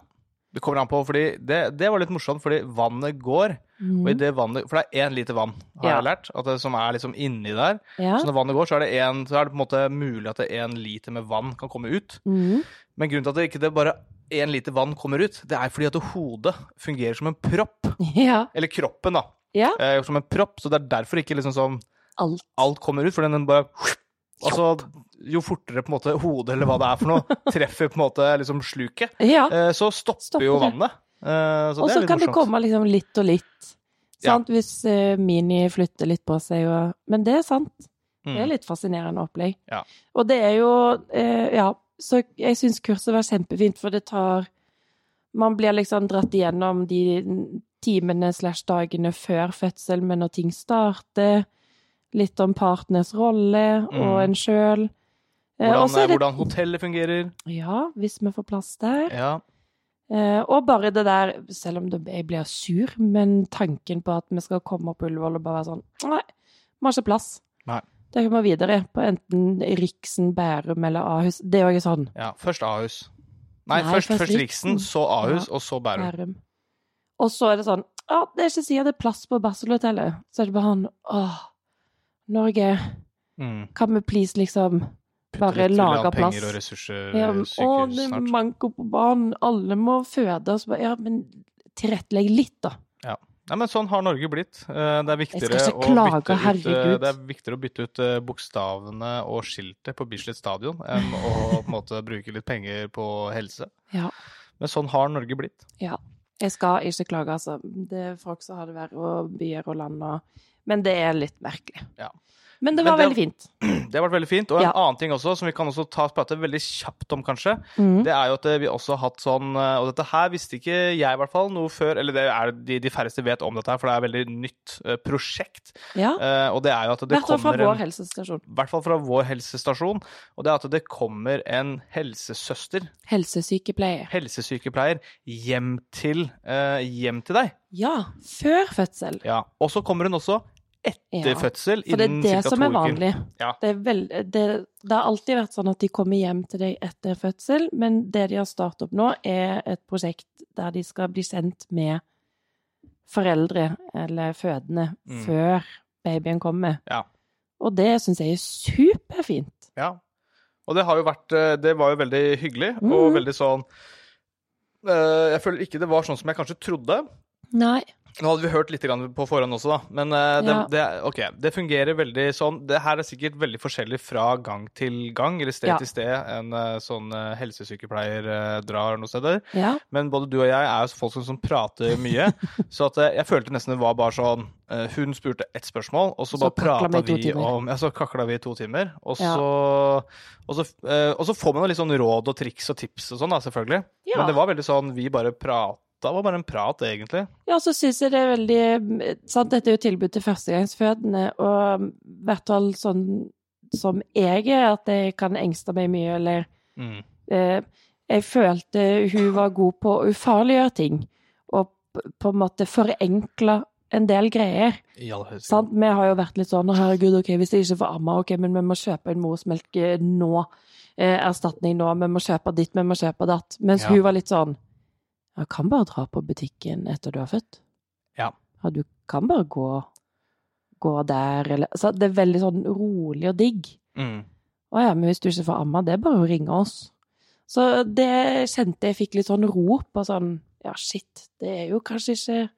Speaker 1: Det kommer an på, fordi det, det var litt morsomt, fordi vannet går, og i
Speaker 2: Mm.
Speaker 1: det vannet For det er én liter vann, har
Speaker 2: Ja.
Speaker 1: jeg lært, at det, som er liksom inni der.
Speaker 2: Ja.
Speaker 1: Så når vannet går, så er det, en, så er det på en måte mulig at én liter med vann kan komme ut.
Speaker 2: Mm.
Speaker 1: Men grunnen til at det ikke det bare én liter vann kommer ut, det er fordi at hodet fungerer som en propp.
Speaker 2: Mm. ja.
Speaker 1: Eller kroppen, da.
Speaker 2: Ja.
Speaker 1: Eh, som en propp, så det er derfor ikke liksom sånn
Speaker 2: Alt.
Speaker 1: alt kommer ut, fordi den bare Altså, jo fortere på en måte hodet eller hva det er for noe, treffer på en måte liksom sluket,
Speaker 2: Ja.
Speaker 1: eh, så stopper,
Speaker 2: Stopper
Speaker 1: jo
Speaker 2: det.
Speaker 1: vannet. Eh, Så
Speaker 2: Og
Speaker 1: det er
Speaker 2: så
Speaker 1: litt
Speaker 2: kan det
Speaker 1: morsomt.
Speaker 2: komme liksom litt og litt.
Speaker 1: Ja.
Speaker 2: Sant? Hvis eh, Mini flytter litt på seg og Men det er sant. Det er
Speaker 1: Mm.
Speaker 2: litt fascinerende opplegg.
Speaker 1: Ja.
Speaker 2: Og det er jo eh, Ja. Så jeg syns kurset var kjempefint, for det tar Man blir liksom dratt igjennom de timene slash dagene før fødsel, men når ting starter. Litt om partners rolle
Speaker 1: Mm.
Speaker 2: og en sjøl. Eh, og
Speaker 1: Hvordan,
Speaker 2: så er det-
Speaker 1: hvordan hotellet fungerer.
Speaker 2: Ja, hvis vi får plass der.
Speaker 1: Ja.
Speaker 2: Eh, og bare det der, selv om det, jeg blir sur, men tanken på at vi skal komme opp på Ullevål og bare være sånn Nei, vi har ikke plass.
Speaker 1: Nei.
Speaker 2: Da kan vi videre på enten Riksen, Bærum eller Ahus. Det er jo ikke sånn.
Speaker 1: ja. Først Ahus. Nei,
Speaker 2: Nei,
Speaker 1: først,
Speaker 2: først
Speaker 1: først Riksen,
Speaker 2: Riksen.
Speaker 1: så Ahus, og så Bærum.
Speaker 2: Bærum. Og så er det sånn Ja, det er ikke sikkert det er plass på Barselhotellet. Så er det bare sånn Åh, Norge,
Speaker 1: Mm.
Speaker 2: kan vi please liksom
Speaker 1: Putte
Speaker 2: bare
Speaker 1: litt
Speaker 2: lage
Speaker 1: grann
Speaker 2: plass?
Speaker 1: Penger og ressurser
Speaker 2: Ja,
Speaker 1: i
Speaker 2: men, å,
Speaker 1: sykehus
Speaker 2: det er
Speaker 1: snart.
Speaker 2: manko på barn, alle må føde. Og så bare, ja, men tilrettelegge litt, da.
Speaker 1: Nei, men sånn har Norge blitt. Eh, Det er viktigere,
Speaker 2: ikke
Speaker 1: å
Speaker 2: klage,
Speaker 1: bytte ut, eh,
Speaker 2: herregud.
Speaker 1: det er viktigere å bytte ut eh, bokstavene og skiltet på Bislett stadion enn å på en måte bruke litt penger på helse.
Speaker 2: Ja.
Speaker 1: Men sånn har Norge blitt.
Speaker 2: Jeg skal ikke klage, altså. Det er folk som har det verre, og byer og land og Men det er litt merkelig.
Speaker 1: Ja.
Speaker 2: Men det
Speaker 1: Men
Speaker 2: var
Speaker 1: det-
Speaker 2: veldig fint.
Speaker 1: Det har vært veldig fint. Og en
Speaker 2: Ja.
Speaker 1: annen ting også, som vi kan også ta prate veldig kjapt om, kanskje,
Speaker 2: Mm.
Speaker 1: det er jo at eh, vi også har hatt sånn eh, Og dette her visste ikke jeg, i hvert fall, noe før. Eller det er de, de færreste vet om dette her, for det er et veldig nytt eh, prosjekt.
Speaker 2: Ja.
Speaker 1: Eh, Og det er jo at det
Speaker 2: Hvert fall fra
Speaker 1: kommer
Speaker 2: vår
Speaker 1: en
Speaker 2: helsestasjon.
Speaker 1: i hvert fall fra vår helsestasjon. Og det er at det kommer en helsesøster
Speaker 2: Helsesykepleier.
Speaker 1: helsesykepleier hjem til, eh, hjem til deg.
Speaker 2: Ja, før fødsel.
Speaker 1: Ja. Og så kommer hun også etter
Speaker 2: Ja,
Speaker 1: fødsel.
Speaker 2: For det er
Speaker 1: innen
Speaker 2: det
Speaker 1: cirka
Speaker 2: som
Speaker 1: to
Speaker 2: er
Speaker 1: uker.
Speaker 2: vanlig.
Speaker 1: Ja.
Speaker 2: Det, er vel- det, det har alltid vært sånn at de kommer hjem til deg etter fødsel, men det de har startet opp nå, er et prosjekt der de skal bli sendt med foreldre eller fødende
Speaker 1: Mm.
Speaker 2: før babyen kommer.
Speaker 1: Ja.
Speaker 2: Og det syns jeg er superfint.
Speaker 1: Ja. Og det har jo vært eh, Det var jo veldig hyggelig, og
Speaker 2: Mhm.
Speaker 1: veldig sånn eh, Jeg føler ikke det var sånn som jeg kanskje trodde.
Speaker 2: Nei.
Speaker 1: Nå hadde vi hørt litt grann på forhånd også, da. Men eh, det,
Speaker 2: Ja.
Speaker 1: det, ok, det fungerer veldig sånn. Det her er sikkert veldig forskjellig fra gang til gang, eller sted
Speaker 2: Ja.
Speaker 1: til sted, enn eh, sånn eh, helsesykepleier eh, drar noen steder.
Speaker 2: Ja.
Speaker 1: Men både du og jeg er jo så folk som, som prater mye. så at eh, jeg følte nesten det var bare sånn eh, Hun spurte ett spørsmål, og så
Speaker 2: Så
Speaker 1: bare
Speaker 2: kakla vi
Speaker 1: prata
Speaker 2: i to
Speaker 1: vi
Speaker 2: timer.
Speaker 1: om Ja, så kakla vi i to timer. Og
Speaker 2: Ja.
Speaker 1: så, og, så, eh, og så får man jo litt sånn råd og triks og tips og sånn, da, selvfølgelig.
Speaker 2: Ja.
Speaker 1: Men det var veldig sånn Vi bare prata. Det var bare en prat, egentlig.
Speaker 2: Ja, så syns jeg det er veldig sant, Dette er jo tilbud til førstegangsfødende, og i hvert fall sånn som jeg er, at jeg kan engste meg mye, eller
Speaker 1: Mm.
Speaker 2: eh, Jeg følte hun var god på å ufarliggjøre ting, og p- på en måte forenkla en del greier.
Speaker 1: I all høyeste
Speaker 2: Sant? Vi har jo vært litt sånn «Å, herregud, ok, hvis jeg ikke får amme, ok, men vi må kjøpe en morsmelk eh, nå. Eh, erstatning nå, vi må kjøpe ditt, vi må kjøpe datt. Mens
Speaker 1: Ja.
Speaker 2: hun var litt sånn Jeg kan bare dra på butikken etter du har født.
Speaker 1: Ja.
Speaker 2: du kan bare gå, gå der, eller Så det er veldig sånn rolig og digg.
Speaker 1: Mm.
Speaker 2: Å ja, men hvis du ikke får amme, det er bare å ringe oss. Så det kjente jeg fikk litt sånn rop og sånn Ja, shit, det er jo kanskje ikke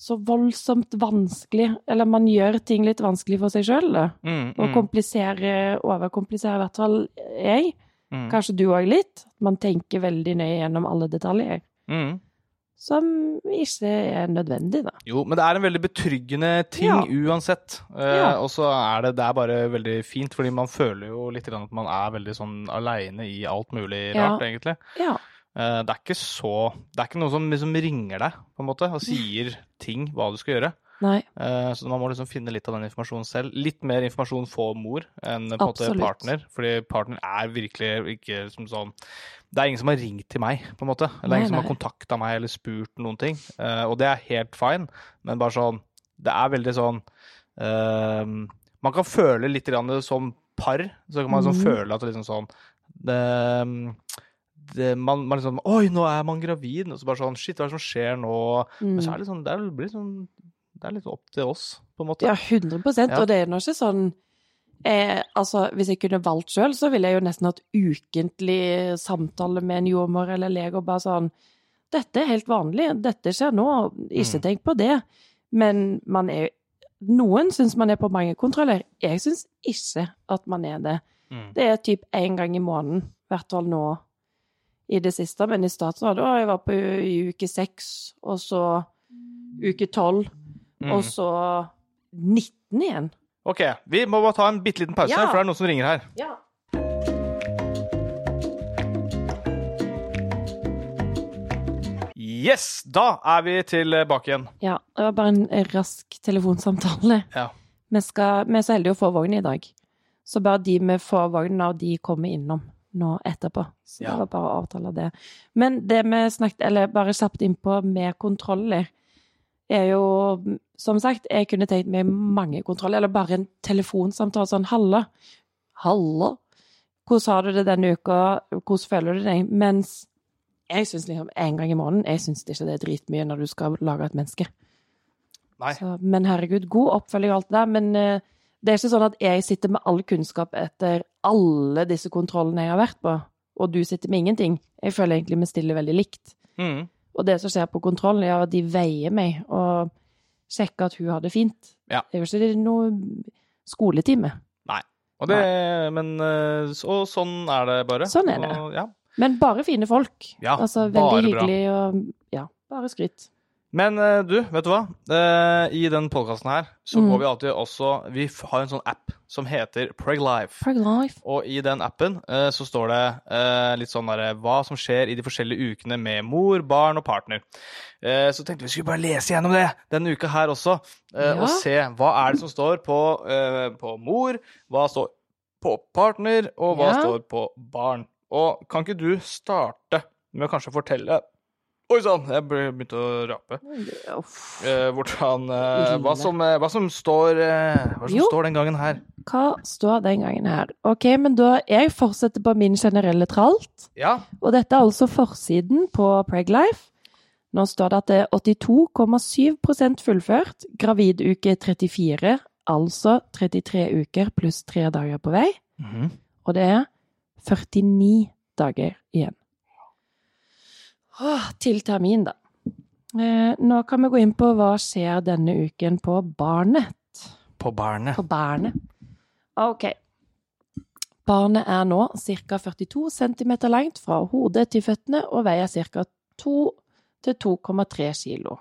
Speaker 2: så voldsomt vanskelig. Eller man gjør ting litt vanskelig for seg sjøl, da.
Speaker 1: Mm.
Speaker 2: Og
Speaker 1: Mm.
Speaker 2: komplisere, overkomplisere i hvert fall jeg.
Speaker 1: Mm.
Speaker 2: Kanskje du òg litt. Man tenker veldig nøye gjennom alle detaljer.
Speaker 1: Mm.
Speaker 2: Som ikke er nødvendig, da.
Speaker 1: Jo, men det er en veldig betryggende ting
Speaker 2: Ja.
Speaker 1: uansett. Eh,
Speaker 2: Ja.
Speaker 1: Og så er det, det er bare veldig fint, fordi man føler jo litt grann at man er veldig sånn aleine i alt mulig
Speaker 2: Ja.
Speaker 1: rart, egentlig.
Speaker 2: Ja.
Speaker 1: Eh, Det er ikke så Det er ikke noe som liksom ringer deg, på en måte, og sier ting, hva du skal gjøre.
Speaker 2: Nei.
Speaker 1: Eh, Så man må liksom finne litt av den informasjonen selv. Litt mer informasjon får mor enn på en måte
Speaker 2: Absolutt.
Speaker 1: partner, fordi partner er virkelig ikke som sånn Det er ingen som har ringt til meg, på en måte. Eller det
Speaker 2: Nei,
Speaker 1: er ingen som har
Speaker 2: nei.
Speaker 1: kontakta meg eller spurt noen ting. Eh, Og det er helt fine, men bare sånn Det er veldig sånn eh, Man kan føle litt grann det som par, så kan man liksom
Speaker 2: Mhm.
Speaker 1: føle at det liksom sånn det, det, man, man liksom Oi, nå er man gravid! Og så bare sånn Shit, hva er det som skjer nå? Men
Speaker 2: Mm.
Speaker 1: så er det sånn, det er, vel- blir sånn Det er litt opp til oss, på en måte.
Speaker 2: Ja, 100
Speaker 1: Ja.
Speaker 2: Og det er nå ikke sånn eh, Altså, hvis jeg kunne valgt sjøl, så ville jeg jo nesten hatt ukentlig samtale med en jordmor eller lege og bare sånn Dette er helt vanlig, dette skjer nå, ikke
Speaker 1: Mm.
Speaker 2: tenk på det. Men man er Noen syns man er på mange kontroller. Jeg syns ikke at man er det.
Speaker 1: Mm.
Speaker 2: Det er typ én gang i måneden, i hvert fall nå i det siste. Men i starten var det å, jeg var på u- i uke seks, og så uke tolv.
Speaker 1: Mm.
Speaker 2: Og så 19 igjen.
Speaker 1: OK, vi må bare ta en bitte liten pause, her,
Speaker 2: Ja.
Speaker 1: for det er noen som ringer her.
Speaker 2: Ja.
Speaker 1: Yes! Da er vi tilbake igjen.
Speaker 2: det var bare en rask telefonsamtale.
Speaker 1: Ja.
Speaker 2: Vi, skal, vi er så heldige å få vogn i dag. Så bare de vi får vogn av, de kommer innom nå etterpå. Så
Speaker 1: Ja.
Speaker 2: det var bare å avtale det. Men det vi snakket, eller bare kjapt innpå med kontroller, er jo Som sagt, jeg kunne tenkt meg mange kontroller, eller bare en telefonsamtale sånn halla. Halla! Hvordan har du det denne uka? Hvordan føler du deg? Mens jeg syns liksom en gang i måneden Jeg syns ikke det er dritmye når du skal lage et menneske.
Speaker 1: Nei.
Speaker 2: Så, men herregud, god oppfølging og alt det der. Men eh, det er ikke sånn at jeg sitter med all kunnskap etter alle disse kontrollene jeg har vært på, og du sitter med ingenting. Jeg føler egentlig vi stiller veldig likt.
Speaker 1: Mm.
Speaker 2: Og det som skjer på kontrollen, er at de veier meg og sjekker at hun har det fint.
Speaker 1: Ja.
Speaker 2: Det er jo ikke noe skoletime.
Speaker 1: Og det, men, eh, så- og sånn er det bare.
Speaker 2: Sånn er det.
Speaker 1: Og, ja.
Speaker 2: Men bare fine folk.
Speaker 1: Ja,
Speaker 2: altså,
Speaker 1: bare
Speaker 2: veldig
Speaker 1: bra.
Speaker 2: hyggelig og ja, bare skryt.
Speaker 1: Men eh, du, vet du hva? Eh, I den podkasten her så
Speaker 2: Mm.
Speaker 1: går vi alltid også Vi f- har en sånn app som heter Preglife.
Speaker 2: Prag Life.
Speaker 1: Og i den appen eh, så står det eh, litt sånn derre hva som skjer i de forskjellige ukene med mor, barn og partner. Eh, så tenkte vi skulle bare lese gjennom det denne uka her også, eh,
Speaker 2: Ja.
Speaker 1: og se hva er det som står på, eh, på mor, hva står på partner, og hva
Speaker 2: Ja.
Speaker 1: står på barn. Og kan ikke du starte med å kanskje fortelle Oi sann, jeg ble- begynte å rape.
Speaker 2: Uff.
Speaker 1: Eh, hvordan, eh, hva,
Speaker 2: Lille.
Speaker 1: som, eh, hva som, står, eh, hva som
Speaker 2: Jo.
Speaker 1: står den gangen her.
Speaker 2: Hva står den gangen her? Ok, men da jeg fortsetter på min generelle tralt.
Speaker 1: Ja,
Speaker 2: Og dette er altså forsiden på Preglife. Nå står det at det er 82,7 fullført, gravid uke 34, altså 33 uker pluss 3 dager på vei. Og det er 49 dager igjen. Åh, til termin, da. Eh, nå kan vi gå inn på hva skjer denne uken på barnet.
Speaker 1: på barnet.
Speaker 2: På barnet. Ok. Barnet er nå ca. 42 cm langt fra hodet til føttene og veier ca. 2-2,3 kg.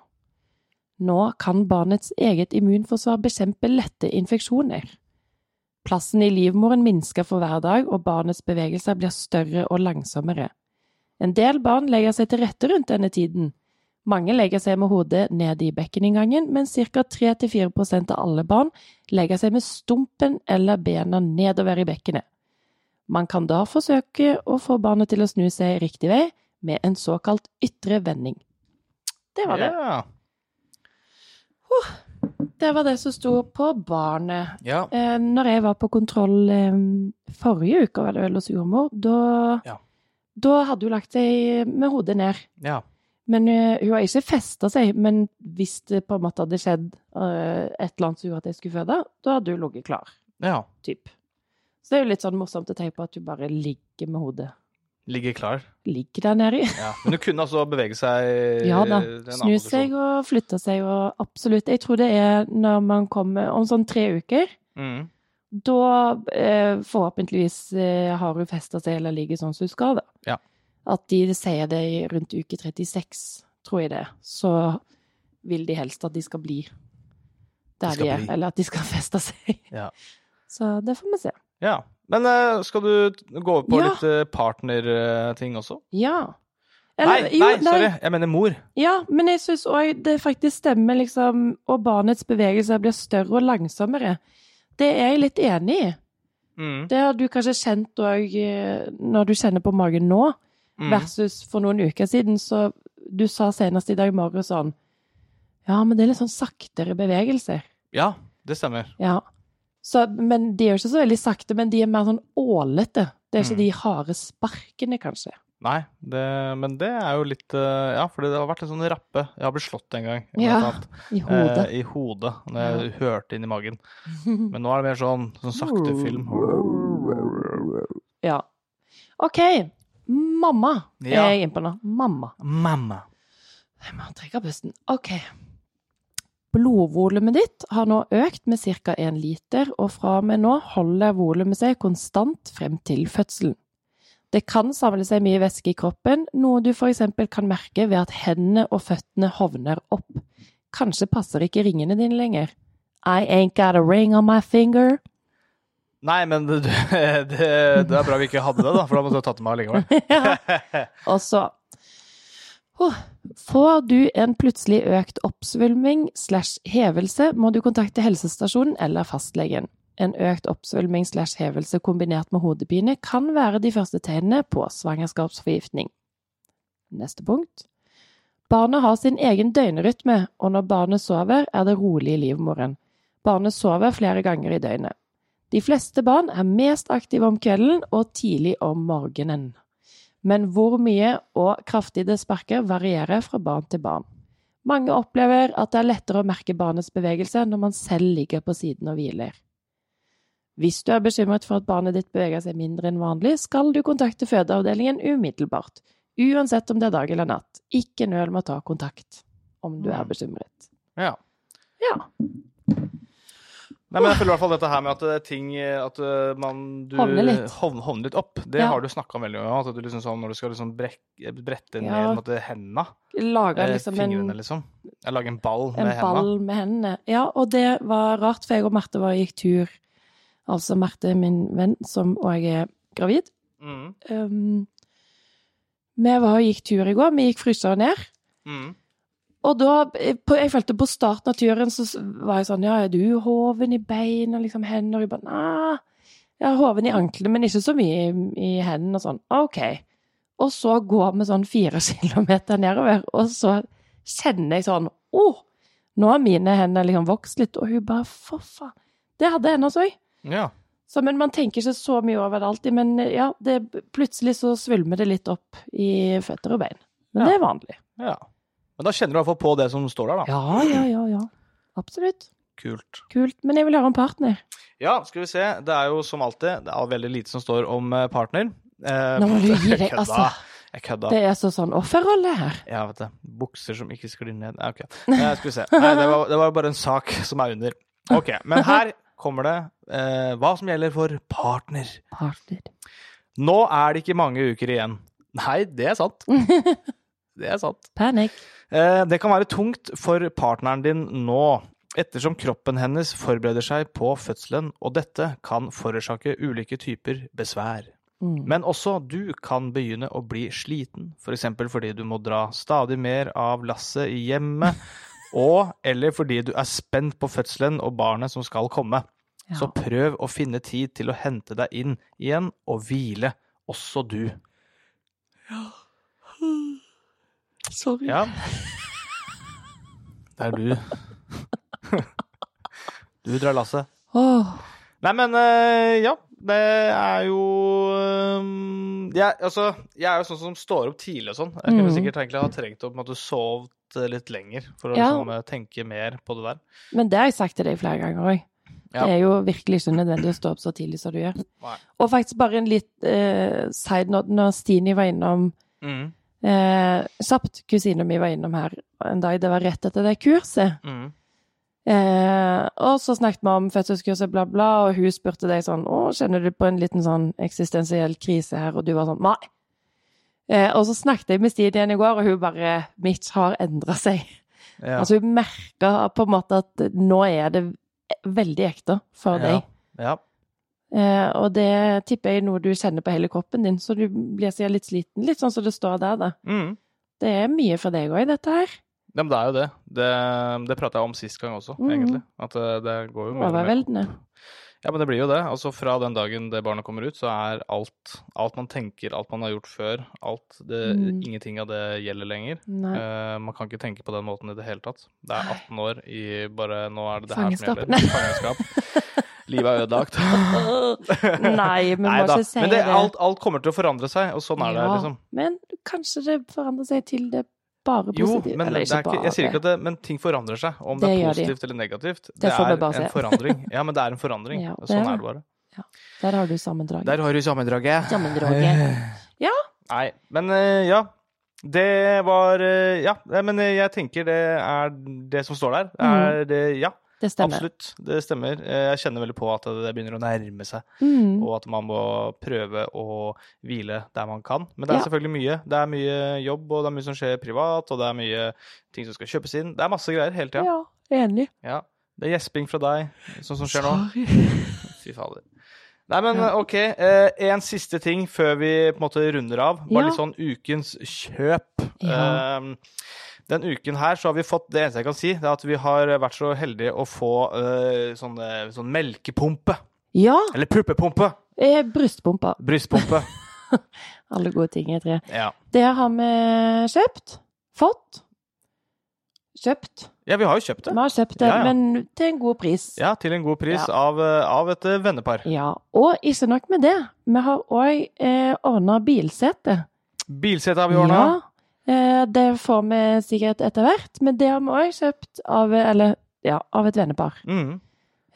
Speaker 2: Nå kan barnets eget immunforsvar bekjempe lette infeksjoner. Plassen i livmoren minsker for hver dag, og barnets bevegelser blir større og langsommere. En del barn legger seg til rette rundt denne tiden. Mange legger seg med hodet ned i bekkeninngangen, men ca. 3-4 av alle barn legger seg med stumpen eller bena nedover i bekkenet. Man kan da forsøke å få barnet til å snu seg riktig vei med en såkalt ytre vending. Det var det.
Speaker 1: Ja.
Speaker 2: Det var det som sto på barnet.
Speaker 1: ja.
Speaker 2: Eh, når jeg var på kontroll eh, forrige uke, var det vel hos jordmor, da,
Speaker 1: Ja.
Speaker 2: da hadde hun lagt seg med hodet ned.
Speaker 1: ja.
Speaker 2: Men eh, hun har ikke festa seg, men hvis det på en måte hadde skjedd eh, et eller annet som gjorde at jeg skulle føde, da hadde hun ligget klar.
Speaker 1: ja.
Speaker 2: Typ. Så det er jo litt sånn morsomt å tenke på at du bare ligger med hodet.
Speaker 1: Ligger klar.
Speaker 2: Ligger der nede.
Speaker 1: Ja. Men du kunne altså bevege seg
Speaker 2: Ja da.
Speaker 1: i en
Speaker 2: Snu
Speaker 1: annen
Speaker 2: seg
Speaker 1: posisjon.
Speaker 2: og flytte seg og absolutt. Jeg tror det er når man kommer om sånn tre uker.
Speaker 1: Mm.
Speaker 2: da eh, forhåpentligvis eh, har hun festa seg eller ligger sånn som hun skal, da.
Speaker 1: Ja.
Speaker 2: At de sier det i rundt uke 36, tror jeg det. er. Så vil de helst at de skal bli der de,
Speaker 1: skal
Speaker 2: er,
Speaker 1: bli.
Speaker 2: eller at de skal feste seg.
Speaker 1: Ja.
Speaker 2: Så det får vi se.
Speaker 1: ja. Men eh, skal du t- gå over på
Speaker 2: Ja.
Speaker 1: litt eh, partnerting også?
Speaker 2: Ja.
Speaker 1: nei, nei, sorry. Jeg mener mor.
Speaker 2: Ja, men jeg syns òg det faktisk stemmer, liksom. Og barnets bevegelser blir større og langsommere. Det er jeg litt enig i.
Speaker 1: Mm.
Speaker 2: Det har du kanskje kjent òg når du kjenner på magen nå.
Speaker 1: Mm.
Speaker 2: Versus for noen uker siden, så du sa senest i dag morges sånn Ja, men det er litt sånn saktere bevegelser.
Speaker 1: Ja, det stemmer.
Speaker 2: Ja. Så, men de er jo ikke så veldig sakte, men de er mer sånn ålete. Det er ikke
Speaker 1: Mm.
Speaker 2: de harde sparkene, kanskje.
Speaker 1: Nei, det, men det er jo litt eh, Ja, for det har vært litt sånn rappe. Jeg har blitt slått en gang. blant
Speaker 2: Ja,
Speaker 1: annet.
Speaker 2: I hodet.
Speaker 1: Eh, I hodet. Når jeg hørte inn i magen. Men nå er det mer sånn, sånn sakte film.
Speaker 2: ja. OK. Mamma
Speaker 1: Ja.
Speaker 2: er jeg inne på nå. Mamma.
Speaker 1: Mamma.
Speaker 2: Jeg må trekke pusten. Ok. Blodvolumet ditt har nå økt med ca. 1 liter, og fra og med nå holder volumet seg konstant frem til fødselen. Det kan samle seg mye væske i kroppen, noe du f.eks. kan merke ved at hendene og føttene hovner opp. Kanskje passer ikke ringene dine lenger. I ain't got a ring on my finger.
Speaker 1: Nei, men det, det, det er bra vi ikke hadde det, da, for da måtte jeg tatt det med allikevel.
Speaker 2: Ja. Og så Åh, Får du en plutselig økt oppsvulming slash hevelse, må du kontakte helsestasjonen eller fastlegen. En økt oppsvulming slash hevelse kombinert med hodepine kan være de første tegnene på svangerskapsforgiftning. Neste punkt. Barnet har sin egen døgnrytme, og når barnet sover, er det rolig i livmoren. Barnet sover flere ganger i døgnet. De fleste barn er mest aktive om kvelden og tidlig om morgenen. Men hvor mye og kraftig det sparker, varierer fra barn til barn. Mange opplever at det er lettere å merke barnets bevegelse når man selv ligger på siden og hviler. Hvis du er bekymret for at barnet ditt beveger seg mindre enn vanlig, skal du kontakte fødeavdelingen umiddelbart, Uansett om det er dag eller natt, ikke nøl med å ta kontakt om du er
Speaker 1: Mm.
Speaker 2: bekymret.
Speaker 1: Ja.
Speaker 2: Ja.
Speaker 1: Nei, men jeg føler i hvert fall dette her med at eh, ting eh, At eh, man du
Speaker 2: Hovner litt.
Speaker 1: hov- hovner litt opp. Det
Speaker 2: Ja.
Speaker 1: har du snakka veldig om. At du liksom sånn når du skal liksom brek, brette ned
Speaker 2: Ja.
Speaker 1: på en måte, henda,
Speaker 2: Lager
Speaker 1: eh,
Speaker 2: liksom en,
Speaker 1: fingrene, liksom. Jeg lager en ball
Speaker 2: en
Speaker 1: med henda.
Speaker 2: ball med hendene. Ja, og det var rart, for jeg og Marte var, gikk tur. Altså Marte, min venn, som og jeg er gravid.
Speaker 1: Mm.
Speaker 2: Um, vi var og gikk tur i går. Vi gikk frysa ned.
Speaker 1: Mm.
Speaker 2: Og da, eh, på, jeg følte på starten av turen, så s- var jeg sånn Ja, er du hoven i beina, liksom hender i bare Nei. Jeg har hoven i anklene, men ikke så mye i, i hendene og sånn. OK. Og så går vi sånn fire kilometer nedover, og så kjenner jeg sånn Å, nå har mine hender liksom vokst litt. Og hun bare For faen. Det hadde hennes òg.
Speaker 1: Ja.
Speaker 2: Så, men man tenker ikke så mye over det alltid, men eh, ja, det, plutselig så svulmer det litt opp i føtter og bein. Men
Speaker 1: Ja.
Speaker 2: det er vanlig.
Speaker 1: ja. Men da kjenner du i hvert fall på det som står der, da.
Speaker 2: Ja, ja, ja, ja. Absolutt.
Speaker 1: Kult.
Speaker 2: Kult. Men jeg vil høre om partner.
Speaker 1: Ja, skal vi se. Det er jo som alltid det er veldig lite som står om eh, partner. Eh,
Speaker 2: Nå må du gi
Speaker 1: jeg
Speaker 2: deg,
Speaker 1: kødda.
Speaker 2: altså.
Speaker 1: Jeg kødda.
Speaker 2: Det er så sånn offerrolle her.
Speaker 1: Ja, vet det. Bukser som ikke sklir ned. Ja, ok. Eh, skal vi se. Nei, det var, det var bare en sak som er under. Ok, men her kommer det eh, hva som gjelder for partner.
Speaker 2: Partner.
Speaker 1: Nå er det ikke mange uker igjen. Nei, det er sant. Det er sant.
Speaker 2: Panic.
Speaker 1: Eh, det kan være tungt for partneren din nå, ettersom kroppen hennes forbereder seg på fødselen, og dette kan forårsake ulike typer besvær.
Speaker 2: Mm.
Speaker 1: Men også du kan begynne å bli sliten, f.eks. fordi du må dra stadig mer av lasset i hjemmet, og eller fordi du er spent på fødselen og barnet som skal komme.
Speaker 2: Ja.
Speaker 1: Så prøv å finne tid til å hente deg inn igjen og hvile, også du.
Speaker 2: Sorry.
Speaker 1: Ja. Det er du. Du drar lasset.
Speaker 2: Åh.
Speaker 1: Nei, men eh, ja. Det er jo eh, jeg, altså, jeg er jo sånn som står opp tidlig og sånn. Jeg kunne
Speaker 2: Mm.
Speaker 1: sikkert egentlig ha trengt å på en måte sovet eh, litt lenger for å
Speaker 2: Ja.
Speaker 1: liksom, eh, tenke mer på det der.
Speaker 2: Men det har jeg sagt til deg flere ganger òg.
Speaker 1: Ja.
Speaker 2: Det er jo virkelig ikke nødvendig å stå opp så tidlig som du gjør.
Speaker 1: Nei.
Speaker 2: Og faktisk bare en litt eh, side note når Stine var innom
Speaker 1: Mm.
Speaker 2: Eh, kjapt, kusina mi var innom her en dag, det var rett etter det kurset.
Speaker 1: Mm.
Speaker 2: Eh, og så snakket vi om fødselskurset, bla, bla, og hun spurte deg sånn Å, kjenner du på en liten sånn eksistensiell krise her? Og du var sånn Nei. Eh, og så snakket jeg med Stine igjen i går, og hun bare Mitch har endra seg.
Speaker 1: Ja.
Speaker 2: Altså, hun merka på en måte at nå er det veldig ekte for
Speaker 1: ja.
Speaker 2: deg.
Speaker 1: ja.
Speaker 2: Eh, og det tipper jeg er noe du kjenner på hele kroppen din, så du blir sikkert litt sliten. Litt sånn som det står der, da.
Speaker 1: Mm.
Speaker 2: Det er mye for deg òg, dette her.
Speaker 1: Ja, men det er jo det. Det, det prata jeg om sist gang også,
Speaker 2: Mm.
Speaker 1: egentlig. At eh, det går jo mer og mer.
Speaker 2: Overveldende.
Speaker 1: Ja, men det blir jo det. Altså Fra den dagen det barnet kommer ut, så er alt, alt man tenker, alt man har gjort før, alt det,
Speaker 2: Mm.
Speaker 1: Ingenting av det gjelder lenger.
Speaker 2: Nei.
Speaker 1: Eh, man kan ikke tenke på den måten i det hele tatt. Det er 18 år i bare Nå er det det her som
Speaker 2: Fangenskap.
Speaker 1: gjelder. Fangenskap. Livet er ødelagt.
Speaker 2: Nei, vi må
Speaker 1: Neida.
Speaker 2: ikke si
Speaker 1: Men det,
Speaker 2: det.
Speaker 1: alt, alt kommer til å forandre seg, og sånn er det,
Speaker 2: Ja,
Speaker 1: liksom.
Speaker 2: Men kanskje det forandrer seg til det bare
Speaker 1: Jo,
Speaker 2: positive.
Speaker 1: men,
Speaker 2: Eller
Speaker 1: det er ikke, jeg sier ikke at det, men ting forandrer seg. Om det,
Speaker 2: Det
Speaker 1: er
Speaker 2: gjør de.
Speaker 1: positivt eller negativt. Det,
Speaker 2: får vi
Speaker 1: er
Speaker 2: bare
Speaker 1: en
Speaker 2: se.
Speaker 1: forandring. Ja, men det er en forandring.
Speaker 2: Ja, det
Speaker 1: sånn
Speaker 2: er
Speaker 1: er
Speaker 2: det.
Speaker 1: det bare.
Speaker 2: Der har du sammendraget.
Speaker 1: Der Eh, har du sammendraget.
Speaker 2: Sammendraget. Ja.
Speaker 1: Nei, men eh, ja. Det var eh, Ja, Nei, men eh, jeg tenker det er det som står der.
Speaker 2: Mm.
Speaker 1: Det er det, ja.
Speaker 2: Det stemmer.
Speaker 1: Absolutt, det stemmer. Eh, Jeg kjenner veldig på at det begynner å nærme seg,
Speaker 2: Mm.
Speaker 1: og at man må prøve å hvile der man kan. Men det er
Speaker 2: Ja.
Speaker 1: selvfølgelig mye. Det er mye jobb, og det er mye som skjer privat, og det er mye ting som skal kjøpes inn. Det er masse greier hele
Speaker 2: Ja.
Speaker 1: tida.
Speaker 2: enig.
Speaker 1: Ja. Det er gjesping fra deg, sånn som skjer nå.
Speaker 2: Sorry.
Speaker 1: Fy fader. Nei, men
Speaker 2: Ja.
Speaker 1: OK. eh, En siste ting før vi på en måte runder av. Bare
Speaker 2: Ja.
Speaker 1: litt sånn ukens kjøp.
Speaker 2: Ja.
Speaker 1: Ehm, Den uken her så har vi fått Det eneste jeg kan si, det er at vi har vært så heldige å få eh, sånn, eh, sånn melkepumpe.
Speaker 2: Ja,
Speaker 1: Eller puppepumpe.
Speaker 2: eh, brystpumpa.
Speaker 1: Brystpumpe.
Speaker 2: Alle gode ting i tre.
Speaker 1: ja.
Speaker 2: Det har vi kjøpt. Fått. Kjøpt.
Speaker 1: ja, vi har jo kjøpt
Speaker 2: Vi
Speaker 1: det.
Speaker 2: har kjøpt det,
Speaker 1: Ja, ja.
Speaker 2: men til en god pris.
Speaker 1: Ja, Til en god pris
Speaker 2: Ja.
Speaker 1: av, eh, av et eh, vennepar.
Speaker 2: Ja, og ikke nok med det. Vi har òg eh, ordna bilsete.
Speaker 1: Bilsete har vi ordna.
Speaker 2: Ja, eh, det får vi sikkert etter hvert, men det har vi òg kjøpt av, eller, ja, av et vennepar.
Speaker 1: Mm.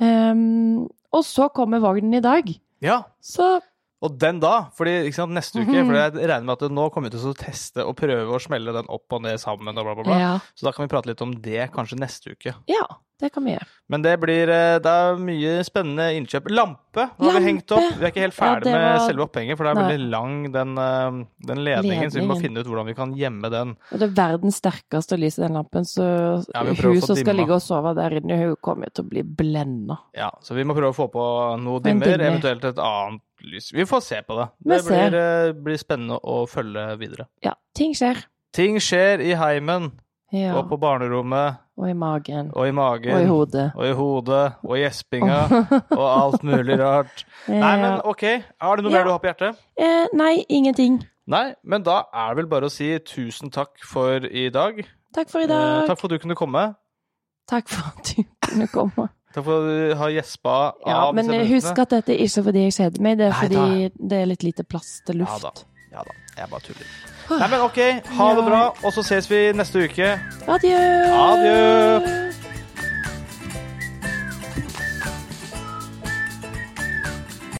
Speaker 2: Ehm, og så kommer vognen i dag.
Speaker 1: ja.
Speaker 2: Så
Speaker 1: Og den da, fordi ikke sant, neste
Speaker 2: Mhm.
Speaker 1: uke For jeg regner med at nå kommer vi til å teste og prøve å smelle den opp og ned sammen og bla, bla, bla.
Speaker 2: Ja.
Speaker 1: Så da kan vi prate litt om det kanskje neste uke.
Speaker 2: ja, det kan vi gjøre.
Speaker 1: Men det blir eh, det er mye spennende innkjøp. Lampe har vi
Speaker 2: Lampe!
Speaker 1: hengt opp. Vi er ikke helt
Speaker 2: Ja,
Speaker 1: ferdig
Speaker 2: det
Speaker 1: med
Speaker 2: var-
Speaker 1: selve opphenget, for det er
Speaker 2: Nei.
Speaker 1: veldig lang den, eh, den ledningen, så vi må
Speaker 2: Ledningen.
Speaker 1: finne ut hvordan vi kan gjemme den.
Speaker 2: Og det er verdens sterkeste lys i den lampen, så
Speaker 1: Ja, vi prøver å
Speaker 2: hun
Speaker 1: få
Speaker 2: som skal
Speaker 1: dimma.
Speaker 2: ligge og sove der inne, hun kommer jo til å bli blenda.
Speaker 1: Ja, Så vi må prøve å få på noe
Speaker 2: En
Speaker 1: dimmer,
Speaker 2: dimmer.
Speaker 1: eventuelt et annet lys. Vi får se på det.
Speaker 2: Vi
Speaker 1: Det
Speaker 2: ser.
Speaker 1: blir, eh, blir spennende å følge videre.
Speaker 2: Ja, ting skjer.
Speaker 1: Ting skjer i heimen,
Speaker 2: Ja.
Speaker 1: og på barnerommet,
Speaker 2: Og i magen.
Speaker 1: og i magen,
Speaker 2: Og i hodet.
Speaker 1: og i hodet, og i gjespinga, og alt mulig rart. Nei, men
Speaker 2: Ja.
Speaker 1: ok. Har du noe
Speaker 2: Ja.
Speaker 1: mer du har på hjertet?
Speaker 2: eh, Nei, ingenting.
Speaker 1: Nei, men da er det vel bare å si tusen takk for i dag.
Speaker 2: Takk for i
Speaker 1: Eh,
Speaker 2: dag.
Speaker 1: takk for at du kunne komme.
Speaker 2: Takk for at du kunne komme.
Speaker 1: Takk for at du har gjespa
Speaker 2: Ja,
Speaker 1: av
Speaker 2: men eh,
Speaker 1: disse
Speaker 2: husk
Speaker 1: minuttene.
Speaker 2: at dette er ikke fordi jeg kjeder meg, det er
Speaker 1: Nei
Speaker 2: fordi det er litt lite plass til
Speaker 1: Ja da.
Speaker 2: luft.
Speaker 1: Ja da, jeg bare tuller. Nei, men ok. Ha det
Speaker 2: Ja.
Speaker 1: bra, og så ses vi neste uke.
Speaker 2: Adjø!
Speaker 1: Adjø!